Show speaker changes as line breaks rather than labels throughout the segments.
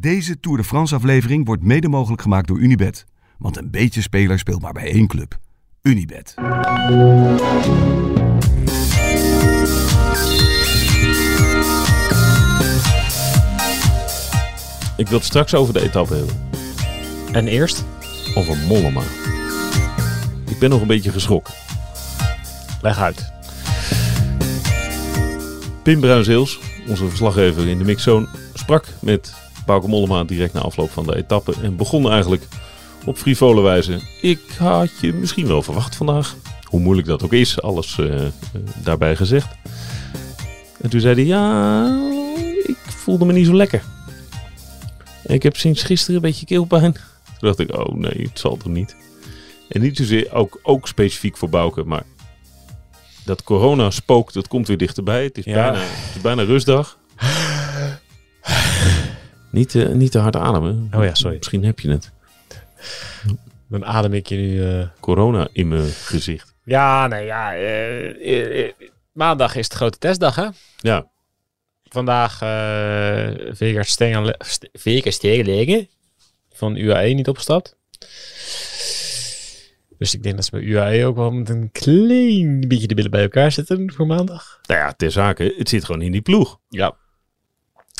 Deze Tour de France-aflevering wordt mede mogelijk gemaakt door Unibed. Want een beetje speler speelt maar bij één club. Unibed.
Ik wil het straks over de etappe hebben.
En eerst?
Over Mollema. Ik ben nog een beetje geschrokken.
Leg uit.
Pim Bruins-Heels, onze verslaggever in de mixzone, sprak met Bauke Mollema direct na afloop van de etappe. En begon eigenlijk op frivole wijze. Ik had je misschien wel verwacht vandaag. Hoe moeilijk dat ook is, alles eh, eh, daarbij gezegd. En toen zei hij, ja, ik voelde me niet zo lekker. Ik heb sinds gisteren een beetje keelpijn. Toen dacht ik, oh nee, het zal toch niet. En niet zozeer ook, ook specifiek voor Bouke, maar dat corona spookt, dat komt weer dichterbij. Het is,
Ja.
bijna, het is bijna rustdag. Niet, eh, niet te hard ademen.
Oh ja, sorry.
Misschien heb je het.
Dan adem ik je nu... eh.
Corona in mijn gezicht.
Ja, nee, ja. eh, eh, eh, maandag is de grote testdag, hè?
Ja,
Vandaag eh Vegas Stengenle- St- Vegas Stegenlegen van UAE niet opgestapt. Dus ik denk dat ze bij UAE ook wel met een klein beetje de billen bij elkaar zitten voor maandag.
nou ja, ter zake, het zit gewoon in die ploeg.
Ja.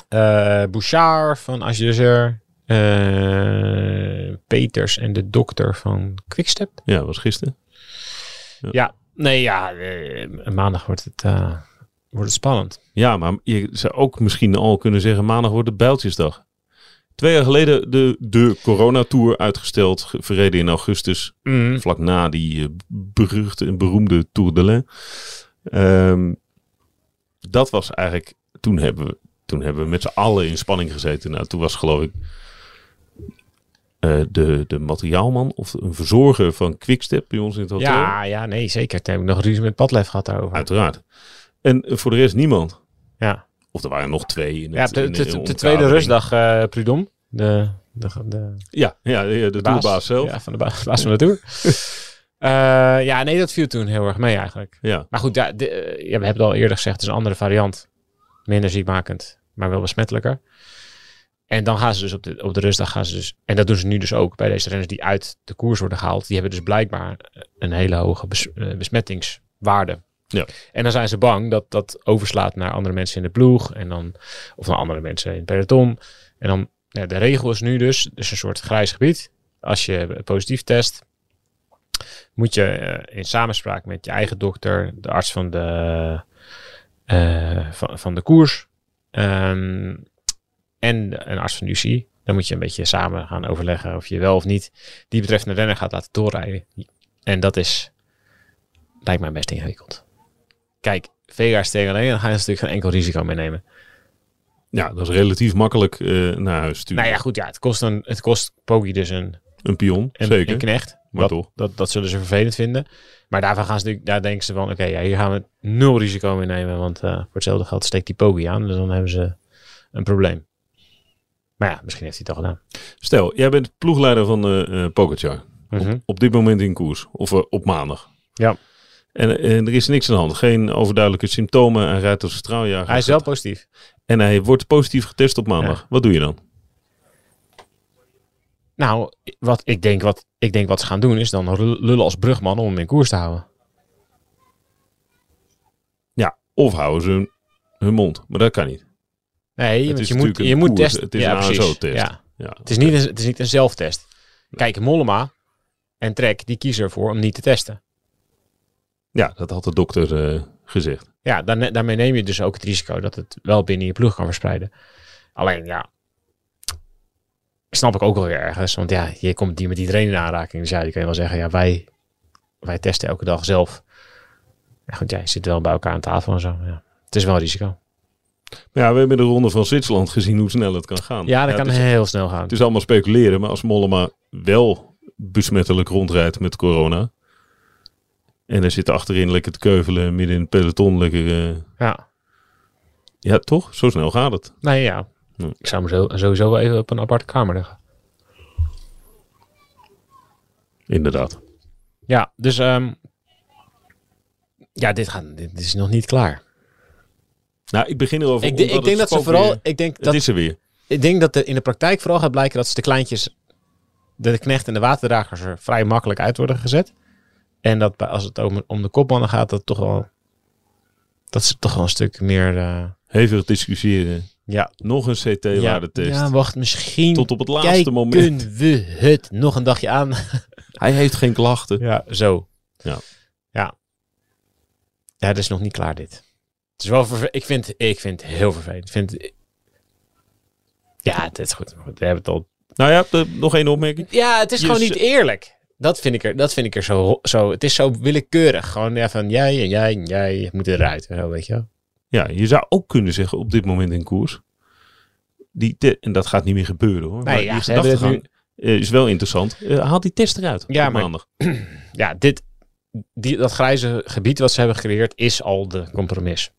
Eh, Bouchard van Azure. eh Peters en de dokter van Quickstep.
Ja, was gisteren.
Ja, nee, ja. eh, maandag wordt het, eh, wordt het spannend.
Ja, maar je zou ook misschien al kunnen zeggen, maandag wordt het Bijltjesdag. Twee jaar geleden de, de coronatour uitgesteld, ge- verreden in augustus, vlak na die eh, beruchte en beroemde Tour de Lens. Ehm, dat was eigenlijk, toen hebben, we, toen hebben we met z'n allen in spanning gezeten. Nou, toen was geloof ik eh, de, de materiaalman of een verzorger van Quickstep bij ons in het hotel.
Ja, ja, nee, zeker. Toen heb ik nog ruzie met Padlef gehad daarover.
Uiteraard. En eh, voor de rest niemand.
Ja,
Of er waren nog twee. In
ja
het,
de,
in
de, de
omkadering.
tweede rustdag eh Prudom. De, de, de, de
Ja, ja de, de
baas.
tourbaas zelf. Ja.
Ja, van de ba- baas van de Tour. Eh, ja, nee, dat viel toen heel erg mee eigenlijk. Maar goed, ja, de- eh, ja, we hebben het al eerder gezegd. Het is een andere variant. Minder ziekmakend, maar wel besmettelijker. En dan gaan ze dus op de, op de rustdag gaan ze dus... En dat doen ze nu dus ook bij deze renners die uit de koers worden gehaald. Die hebben dus blijkbaar een hele hoge bes- eh, besmettingswaarde.
Ja.
En dan zijn ze bang dat dat overslaat naar andere mensen in de ploeg. En dan, of naar andere mensen in het peloton. En dan, ja, de regel is nu dus, dus een soort grijs gebied. Als je positief test, moet je eh, in samenspraak met je eigen dokter, de arts van de, eh, van, van de koers ehm, en een arts van de UCI, dan moet je een beetje samen gaan overleggen of je wel of niet die betreffende renner gaat laten doorrijden. En dat is, lijkt mij best ingewikkeld. Kijk, Vega is tegen alleen, dan ga je natuurlijk geen enkel risico meenemen.
ja, dat is relatief makkelijk eh, naar huis sturen.
Nou ja, goed, ja, het kost, een, het kost Poggi dus een,
Een pion,
een,
zeker.
een knecht.
Maar
dat,
toch.
Dat, dat zullen ze vervelend vinden. Maar daarvan gaan ze, natuurlijk- daar denken ze van, oké, ja, hier gaan we nul risico mee nemen. Want eh, voor hetzelfde geld steekt die Poggi aan. Dus dan hebben ze een probleem. Maar ja, misschien heeft hij het al gedaan.
Stel, jij bent ploegleider van eh eh Pogacar.
Mhm.
Op dit moment in koers. Of eh, op maandag.
Ja.
En, en er is niks aan de hand. Geen overduidelijke symptomen. Hij rijdt als een straaljager.
Hij is wel positief.
En hij wordt positief getest op maandag. Wat doe je dan?
Nou, wat ik, denk, wat ik denk wat ze gaan doen is dan ru- lullen als brugman om hem in koers te houden.
Ja, of houden ze hun, hun mond. Maar dat kan niet.
Nee, want
is
je moet,
natuurlijk een
je moet
koers.
testen.
Het is
ja,
een
precies.
ASO-test.
Ja,
Ja.
Het is niet een, het is niet een zelftest. Kijk, Mollema en Trek, die kiezen ervoor om niet te testen.
ja, dat had de dokter eh, gezegd.
Ja, daarne- daarmee neem je dus ook het risico dat het wel binnen je ploeg kan verspreiden. Alleen, ja, snap ik ook wel weer ergens. Want ja, je komt hier met iedereen in aanraking. Dus ja, je kan je wel zeggen, ja, wij, wij testen elke dag zelf. Ja, goed, jij je zit wel bij elkaar aan tafel en zo. Ja. Het is wel een risico.
Maar ja, we hebben in de ronde van Zwitserland gezien hoe snel het kan gaan.
Ja, dat kan
het, is,
heel snel gaan.
het is allemaal speculeren, maar als Mollema wel besmettelijk rondrijdt met corona. En er zit achterin lekker te keuvelen, midden in het peloton lekker. eh,
Ja.
ja, toch? Zo snel gaat het.
Nee, ja.
Hm.
Ik zou hem zo, sowieso wel even op een aparte kamer leggen.
Inderdaad.
Ja, dus ehm, ja, dit, gaat, dit is nog niet klaar.
Nou, ik begin erover.
Ik, denk-
omdat
ik denk
het
dat ze
spook
vooral,
weer-
ik denk
Het
dat,
is er weer.
ik denk dat er in de praktijk vooral gaat blijken dat ze de kleintjes, de knecht en de waterdragers er vrij makkelijk uit worden gezet. En dat bij- als het om, om de kopmannen gaat, dat toch wel, dat ze toch wel een stuk meer, eh,
Hevig discussiëren.
ja.
Nog een CT-waardetest.
ja, wacht, misschien
Tot op het laatste
kijken
moment.
we het nog een dagje aan.
Hij heeft geen klachten.
Ja, zo.
Ja.
Ja. Ja, het is nog niet klaar dit. Het is wel verve- ik vind, ik vind het heel vervelend. Ik vind... Ja, het is goed. We hebben het al...
Nou ja, de- nog één opmerking.
Ja, het is
Je
gewoon
z-
niet eerlijk. Dat vind ik er, dat vind ik er zo, ro- zo... Het is zo willekeurig. Gewoon ja, van jij en jij en jij moet eruit. en zo, weet je wel.
Ja, je zou ook kunnen zeggen op dit moment in koers. Die te- en dat gaat niet meer gebeuren hoor.
Nee,
maar
ja,
die
ze hebben het
gedachtegang eh, is wel interessant. Eh, haal die test eruit
Ja,
op
maar-
maandag.
Ja, dit... Die, dat grijze gebied wat ze hebben gecreëerd is al de compromis.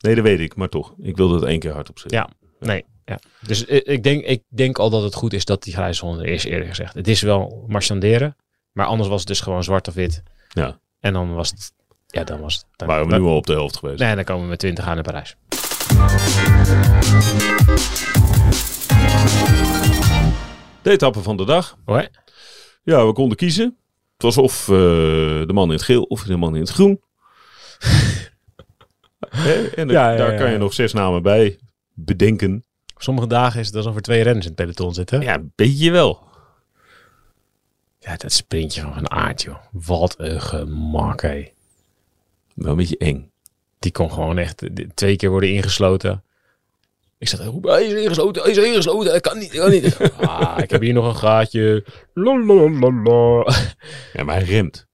Nee, dat weet ik, maar toch. Ik wil dat één keer hardop zeggen.
Ja. Nee. Ja. Dus i- ik denk, ik denk al dat het goed is dat die grijze zone er is, eerlijk gezegd. Het is wel marchanderen, maar anders was het dus gewoon zwart of wit.
Ja.
En dan was het... Ja, dan was het... Dan,
Waren we
dan-
nu al op de helft geweest.
Nee, dan komen we met 20 aan naar Parijs.
De etappe van de dag.
Hoi.
Ja, we konden kiezen. Het was of eh, de man in het geel of de man in het groen. Hè, en dan-
Ja, ja,
daar
ja,
kan je
ja.
nog zes namen bij bedenken.
Op sommige dagen is het alsof er twee renners in het peloton zitten. Ja,
Ja, weet je wel.
dat sprintje van Van Aert, joh. Wat een gemak, hé.
Wel een beetje eng.
Die kon gewoon echt eh, d- twee keer worden ingesloten. Ik zat, roep, hij is ingesloten, hij is ingesloten, dat kan niet, dat kan niet. ah, ik heb hier nog een gaatje. Lalalala.
Ja, maar hij remt.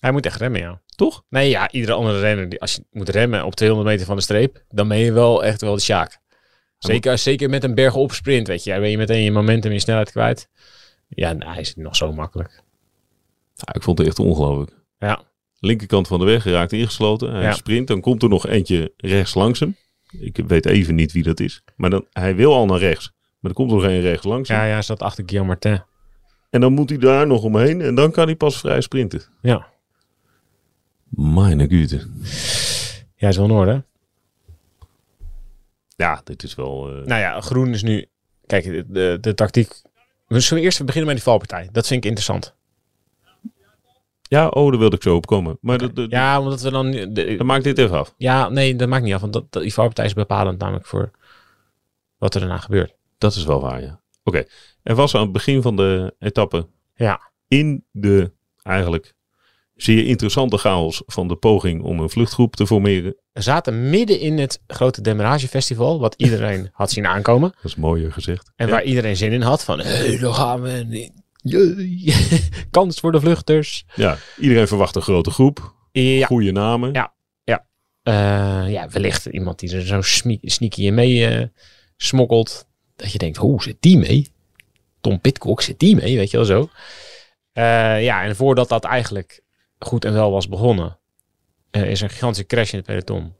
Hij moet echt remmen, ja.
Toch?
Nee, ja, iedere andere renner, die, als je moet remmen op 200 meter van de streep, dan ben je wel echt wel de Sjaak. Zeker, zeker met een berg op sprint, weet je. Dan ben je meteen je momentum en je snelheid kwijt. Ja, nou, hij is nog zo makkelijk.
Ja, ik vond het echt ongelooflijk.
Ja,
Linkerkant van de weg hij raakt ingesloten. Hij
Ja.
sprint. Dan komt er nog eentje rechts langs hem. Ik weet even niet wie dat is. Maar dan, hij wil al naar rechts. Maar er komt er nog één rechts langs hem.
ja, ja, zat achter Guillaume Martin.
En dan moet hij daar nog omheen. En dan kan hij pas vrij sprinten.
Ja,
Mijn gute.
ja is wel in orde.
Ja, dit is wel... eh,
Nou ja, groen is nu... Kijk, de, de, de tactiek... We zullen eerst beginnen met die valpartij. Dat vind ik interessant.
Ja, oh, daar wilde ik zo op komen. Maar dat, dat,
Ja, omdat we dan... nu- de-
dan maakt dit even af.
ja, nee, dat maakt niet af. Want dat, dat, die valpartij is bepalend namelijk voor wat er daarna gebeurt.
Dat is wel waar, ja. Oké. Er was aan het begin van de etappe
Ja,
in de eigenlijk zeer interessante chaos van de poging om een vluchtgroep te formeren.
We zaten midden in het grote demaragefestival, wat iedereen had zien aankomen.
Dat is mooier gezegd.
En
Ja.
waar iedereen zin in had van, hey, daar gaan we. en- Jee. Kans voor de vluchters.
Ja, iedereen verwacht een grote groep.
Ja,
Goede namen.
Ja. eh, ja wellicht iemand die er zo smie- sneaky in mee eh, smokkelt. Dat je denkt, hoe zit die mee? Tom Pitcock zit die mee, weet je wel zo. Eh, ja, en voordat dat eigenlijk goed en wel was begonnen, eh, is er een gigantische crash in het peloton.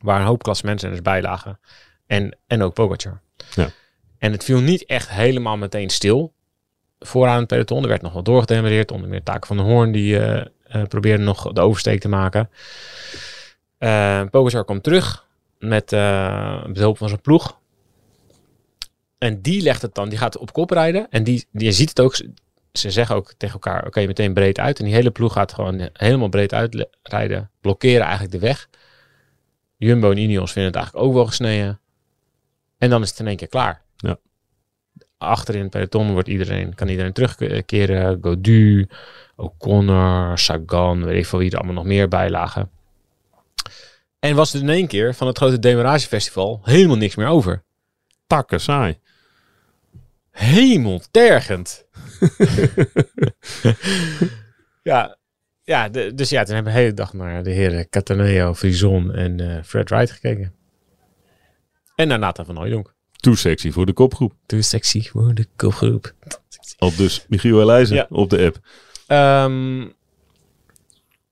Waar een hoop klassementsrenners bij lagen. En, en ook Pogacar.
Ja.
En het viel niet echt helemaal meteen stil. Vooraan het peloton. Er werd nog wel doorgedemmereerd. Onder meer Taak van de Hoorn. Die eh, eh, probeerde nog de oversteek te maken. Eh Pogacar kwam terug. Met eh, met behulp van zijn ploeg. En die legt het dan. Die gaat op kop rijden. En die, die je ziet het ook. ze- Ze zeggen ook tegen elkaar. Oké, meteen breed uit. En die hele ploeg gaat gewoon helemaal breed uitrijden. Blokkeren eigenlijk de weg. Jumbo en Ineos vinden het eigenlijk ook wel gesneden. En dan is het in één keer klaar.
Ja.
Achterin het peloton wordt iedereen, kan iedereen terugkeren. Godu, O'Connor, Sagan, weet ik veel wie er allemaal nog meer bij lagen. En was er in één keer van het grote demaragefestival helemaal niks meer over.
Takken saai.
Hemeltergend. ja, ja de- dus ja, toen hebben we de hele dag naar de heren Cataneo, Frison en eh, Fred Wright gekeken. En naar Nathan van Hooijdonk.
Too sexy voor de kopgroep.
Too sexy voor de kopgroep.
Al dus Michiel Elijzen
Ja.
op de app.
Ehm,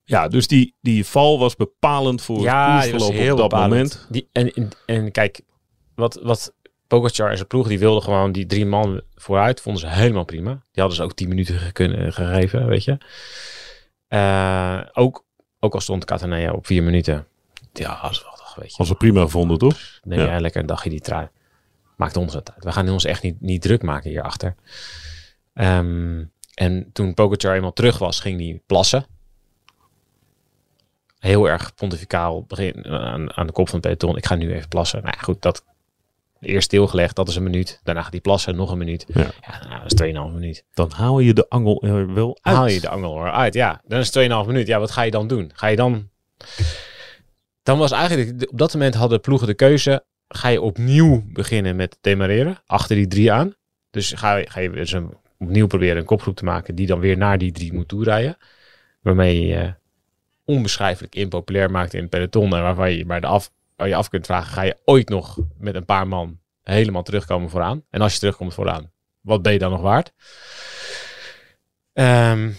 Ja, dus die, die val was bepalend voor
ja,
het
die was
koersverloop
heel
op dat
bepalend.
moment.
Die, en, en, en kijk, wat, wat Pogacar en zijn ploeg, die wilden gewoon die drie man vooruit, vonden ze helemaal prima. Die hadden ze ook tien minuten ge- kunnen, gegeven, weet je. Eh, ook, ook al stond Catanea op vier minuten. Ja, dat is wel toch, weet je.
Als ze prima vonden, toch?
Neem
Ja.
jij lekker een dagje die trui. maakt ons het uit. We gaan ons echt niet, niet druk maken hierachter. Ehm, en toen Pogacar eenmaal terug was, ging hij plassen. Heel erg pontificaal begin, eh, aan, aan de kop van het peloton. Ik ga nu even plassen. Nou ja, goed, dat eerst stilgelegd. Dat is een minuut. Daarna gaat hij plassen. Nog een minuut.
Ja.
Ja, nou, dat is 2,5 minuut
Dan haal je de angel er wel uit.
haal je de angel eruit. Ja, dan is het 2,5 minuut. Ja, wat ga je dan doen? Ga je dan... Dan was eigenlijk... de- Op dat moment hadden ploegen de keuze... Ga je opnieuw beginnen met demareren. Achter die drie aan. Dus ga je, ga je dus een, opnieuw proberen een kopgroep te maken... die dan weer naar die drie moet toerijden. Waarmee je je onbeschrijfelijk impopulair maakt in het peloton... en waarvan je maar de af, waar je af kunt vragen... ga je ooit nog met een paar man helemaal terugkomen vooraan? En als je terugkomt vooraan, wat ben je dan nog waard? Ehm,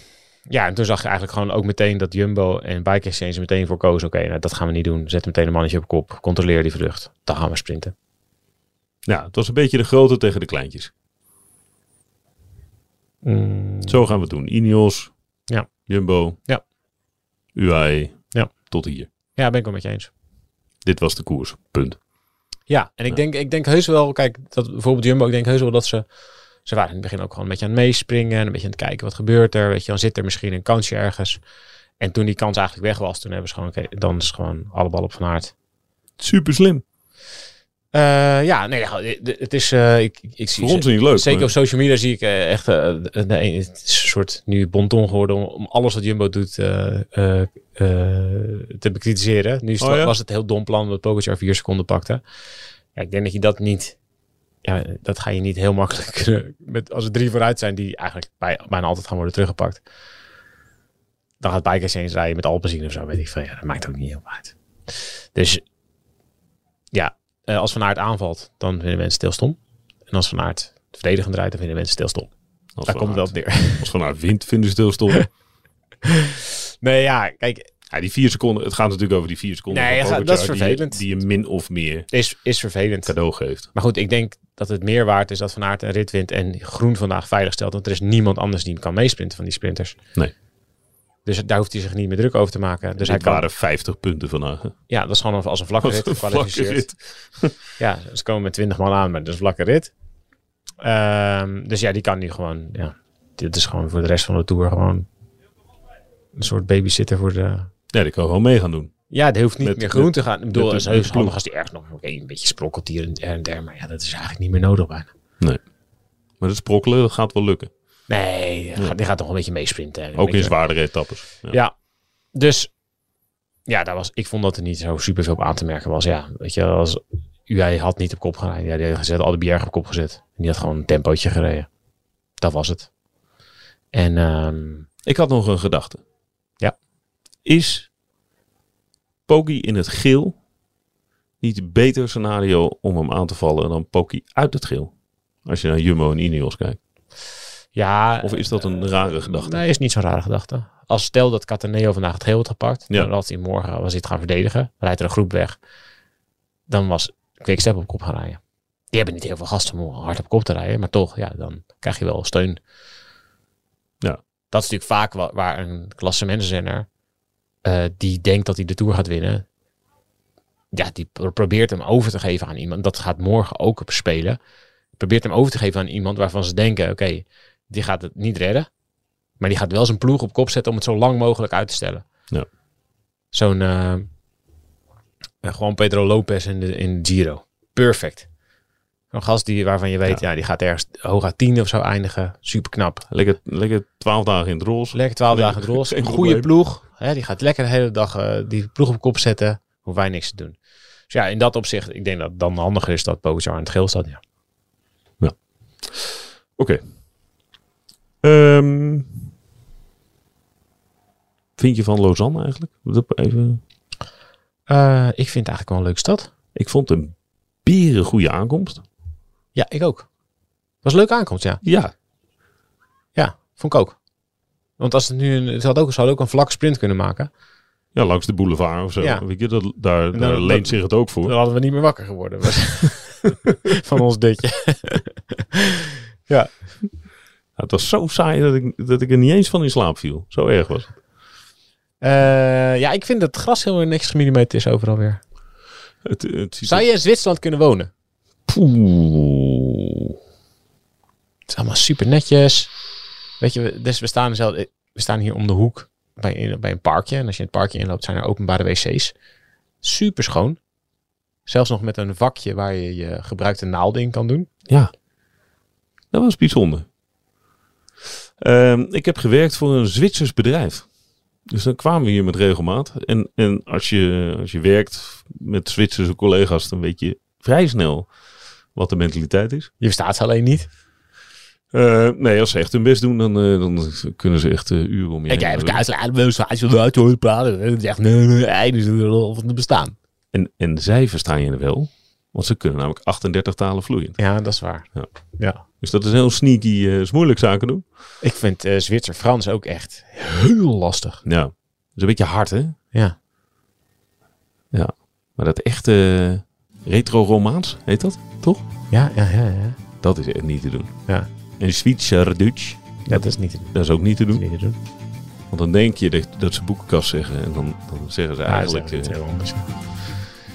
ja, en toen zag je eigenlijk gewoon ook meteen dat Jumbo en Bike Exchange er meteen voor kozen. Oké, nou, dat gaan we niet doen. Zet meteen een mannetje op kop. Controleer die vlucht. Dan gaan we sprinten.
Ja, het was een beetje de grote tegen de kleintjes.
Mm.
Zo gaan we het doen. Ineos,
Hmm. Ja.
Jumbo,
Ja.
UAE,
Ja.
tot hier.
Ja, ben ik wel met je eens.
Dit was de koers. Punt.
Ja, en ik, Denk, ik denk heus wel, kijk, dat bijvoorbeeld Jumbo, ik denk heus wel dat ze, ze waren in het begin ook gewoon een beetje aan het meespringen, en een beetje aan het kijken wat gebeurt er, weet je, dan zit er misschien een kansje ergens. En toen die kans eigenlijk weg was, toen hebben ze gewoon, oké, dan is gewoon alle bal op van aard.
Super slim.
Eh, ja, nee, ja, d- d- het is, eh, ik, ik, ik zie
Voor ons niet leuk.
Zeker op
maar-
social media zie ik eh, echt, eh, d- nee, het is een soort nu bonton geworden om, om alles wat Jumbo doet eh, eh, eh, te bekritiseren. Nu is het-
Oh ja?
Dus was het een heel dom plan dat Pogacar vier seconden pakte. Ja, ik denk dat je dat niet, ja, dat ga je niet heel makkelijk kunnen. Met, als er drie vooruit zijn die eigenlijk bij, bijna altijd gaan worden teruggepakt. Dan gaat Bikers eens rijden met Alpenzien of zo, weet ik veel. Ja, dat maakt ook niet heel veel uit. Dus ja, eh, als Van Aert aanvalt, dan vinden mensen stilstom. En als Van Aert verdedigend rijdt, dan vinden mensen stilstom.
Als
Daar
Van
komt
Aert-
dat neer.
Als vanuit wind vinden ze stilstom.
Nee, ja, kijk,
ja, die vier seconden. Het gaat natuurlijk over die vier seconden.
Nee,
van
ja, dat is
Pogacar
vervelend.
Die, je- die je min of meer
is, is vervelend.
cadeau geeft. Dus
Maar goed, ik denk dat het meer waard is dat Van Aert een rit wint en Groen vandaag veilig stelt. Want er is niemand anders die hem kan meesprinten van die sprinters.
Nee.
Dus daar hoeft hij zich niet meer druk over te maken. Dus
Dus
hij
het
kan,
waren 50 punten eh, vandaag. hè.
ja, dat is gewoon als een vlakke
Als
rit
een vlakke
gekwalificeerd.
rit.
Ja, ze komen met 20 man aan, maar dat is een vlakke rit. Ehm, dus ja, die kan nu gewoon. Ja, dit is gewoon voor de rest van de tour gewoon een soort babysitter voor de.
Nee, die kan gewoon mee gaan doen.
Ja, die hoeft niet
Met-
meer groen
met-
te gaan. Ik bedoel,
met
het
de-
is
met
heus
de ploeg.
handig als die ergens nog oké, een beetje sprokkelt hier en der en der. Maar ja, dat is eigenlijk niet meer nodig bijna.
Maar dat sprokkelen, dat gaat wel lukken.
Nee, die gaat, die gaat nog een beetje meesprinten. hè. Een
Ook in
beetje-
zwaardere etappes. Ja.
Ja, dus ja, daar was, ik vond dat er niet zo super veel op aan te merken was. Ja, weet je, als UAE had niet op kop gereden. Ja, die had gezet, al de Bjerg op kop gezet. En die had gewoon een tempootje gereden. Dat was het. En ehm,
Ik had nog een gedachte.
Ja.
Is Poki in het geel niet een beter scenario om hem aan te vallen dan Poki uit het geel? Als je naar Jumbo en Ineos kijkt.
ja,
Of is dat
Eh,
een rare gedachte?
nee, is niet zo'n rare gedachte. Als stel dat Cataneo vandaag het geel had gepakt,
Ja.
dan had hij morgen was hij het gaan verdedigen, rijdt er een groep weg, dan was Quickstep op kop gaan rijden. Die hebben niet heel veel gasten om hard op kop te rijden, maar toch, ja, dan krijg je wel steun.
Ja.
Dat is natuurlijk vaak wa- waar een klassementsrenner eh die denkt dat hij de Tour gaat winnen, ja, die pro- probeert hem over te geven aan iemand. Dat gaat morgen ook spelen. Probeert hem over te geven aan iemand waarvan ze denken, oké, die gaat het niet redden. Maar die gaat wel zijn ploeg op kop zetten om het zo lang mogelijk uit te stellen.
Ja.
Zo'n eh, eh, Juan Pedro Lopez in de, in de Giro. Perfect. Zo'n gast die, waarvan je weet, ja. die gaat ergens hooguit 10 of zo eindigen. Super knap.
Lekker, lekker 12 dagen in het roze.
Lekker 12
Nee,
dagen het roze.
geen
Een goede
probleem.
ploeg. Hè, die gaat lekker de hele dag eh, die ploeg op kop zetten. Hoeven wij niks te doen. Dus ja, in dat opzicht, ik denk dat het dan handiger is dat Pogacar in het geel staat. Ja.
Oké. Ehm, vind je van Lausanne eigenlijk? Dat Even.
Eh, ik vind het eigenlijk wel een leuke stad.
Ik vond een beren goede aankomst.
Ja, ik ook. was een leuke aankomst, ja.
Ja,
Ja, vond ik ook. Want als het nu een, het had ook, ze hadden ook een vlak sprint kunnen maken.
Ja, langs de boulevard of zo.
Ja.
Weet je, dat, daar, daar
dat-
leent zich het ook voor.
Dan hadden we niet meer wakker geworden. Van ons ditje.
Ja, Nou, het was zo saai dat ik, dat ik er niet eens van in slaap viel. Zo erg was het.
Eh, ja, ik vind dat het gras heel erg niks gemillimeterd is overal weer.
het, het ziet
Zou
er-
je in Zwitserland kunnen wonen?
Poeh.
Het is allemaal super netjes. Weet je, we- dus we staan, zelf- we staan hier om de hoek bij, een- bij een parkje. En als je het parkje inloopt, zijn er openbare wc's. Super schoon. Zelfs nog met een vakje waar je je gebruikte naalden in kan doen.
Ja, dat was bijzonder. Ehm, ik heb gewerkt voor een Zwitsers bedrijf. Dus dan kwamen we hier met regelmaat. En, en als, je, als je werkt met Zwitserse collega's, dan weet je vrij snel wat de mentaliteit is.
Je verstaat ze alleen niet.
Eh, nee, als ze echt hun best doen, dan, eh, dan kunnen ze echt eh, uren om je
En jij
heen.
hebt kaas aan de wc's, je uit je praten. En zegt, nee, nee, einde of het bestaan.
En, en zij verstaan je wel, want ze kunnen namelijk 38 talen vloeiend.
Ja, dat is waar.
Ja.
ja.
Dus dat is heel sneaky, eh, is moeilijk zaken doen.
Ik vind eh, Zwitser-Frans ook echt heel lastig.
Ja, dat is een beetje hard hè.
Ja.
Maar dat echte retro-romaans, heet dat, toch?
Ja, ja, ja. ja.
Dat is echt niet te doen.
Ja.
En Zwitserdeutsch,
Dat is niet te doen.
dat is ook niet te
Dat is
doen.
niet te doen.
Want dan denk je dat, dat ze boekenkast zeggen en dan, dan zeggen ze
Ja, dat is
eigenlijk
echt
eh,
heel anders.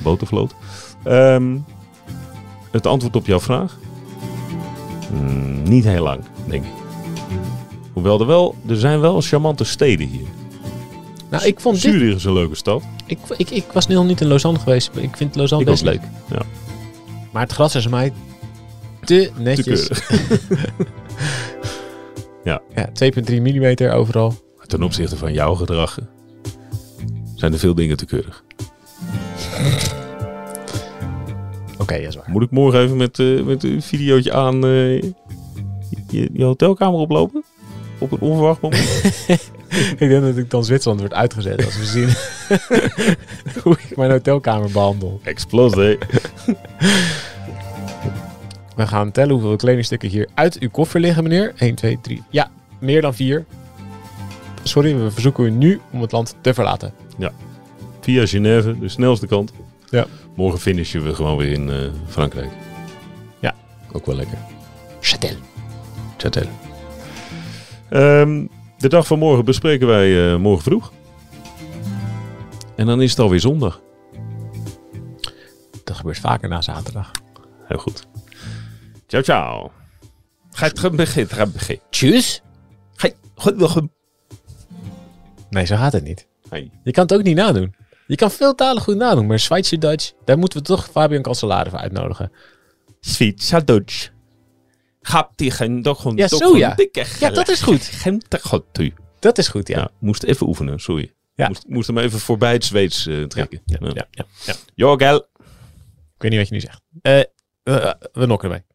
botervloot. Ehm, het antwoord op jouw vraag? Mm, niet heel lang, denk ik. Hoewel er wel, er zijn wel charmante steden hier.
Nou, ik vond Oh, dit... Oh,
Zurich is een leuke stad.
Ik, ik, ik was nog niet in Lausanne geweest. maar Ik vind Lausanne
Ik
best
ook
leuk.
niet. Ja.
Maar het gras is mij te netjes.
keurig. Ja.
ja 2,3 mm overal.
Maar ten opzichte van jouw gedrag eh, zijn er veel dingen te keurig.
Oké, dat is waar.
Moet ik morgen even met, eh, met een videootje aan eh, je, je hotelkamer oplopen? Op een onverwacht moment?
ik denk dat ik dan Zwitserland wordt uitgezet als we zien hoe ik mijn hotelkamer behandel.
Explosie.
We gaan tellen hoeveel kledingstukken hier uit uw koffer liggen, meneer. 1, 2, 3. Ja, meer dan 4. Sorry, we verzoeken u nu om het land te verlaten.
Via Genève, de snelste kant.
Ja.
Morgen finishen we gewoon weer in eh, Frankrijk.
Ja.
Ook wel lekker.
Châtel.
Châtel. Ehm, de dag van morgen bespreken wij eh, morgen vroeg. En dan is het alweer zondag.
Dat gebeurt vaker na zaterdag.
Heel goed. Ciao, ciao. Gaat het beginnen, gaat beginnen.
Tjus?
Gaat het
Nee, zo gaat het niet.
beginnen.
Je kan het ook niet nadoen. Je kan veel talen goed nadoen, maar Zwitser Dutch, daar moeten we toch Fabian Cancellara voor uitnodigen.
Zwitser Duits. Gaat die geen dag
Ja, zo ja. Ja, dat is goed.
Geen u.
Dat is goed, ja.
Ja, moest even oefenen, sorry.
Ja.
Moest, moest hem even voorbij het Zweeds eh, trekken.
Ja, ja, ja, ja.
Jogel.
Ik weet niet wat je nu zegt. Eh, we, we nokken erbij.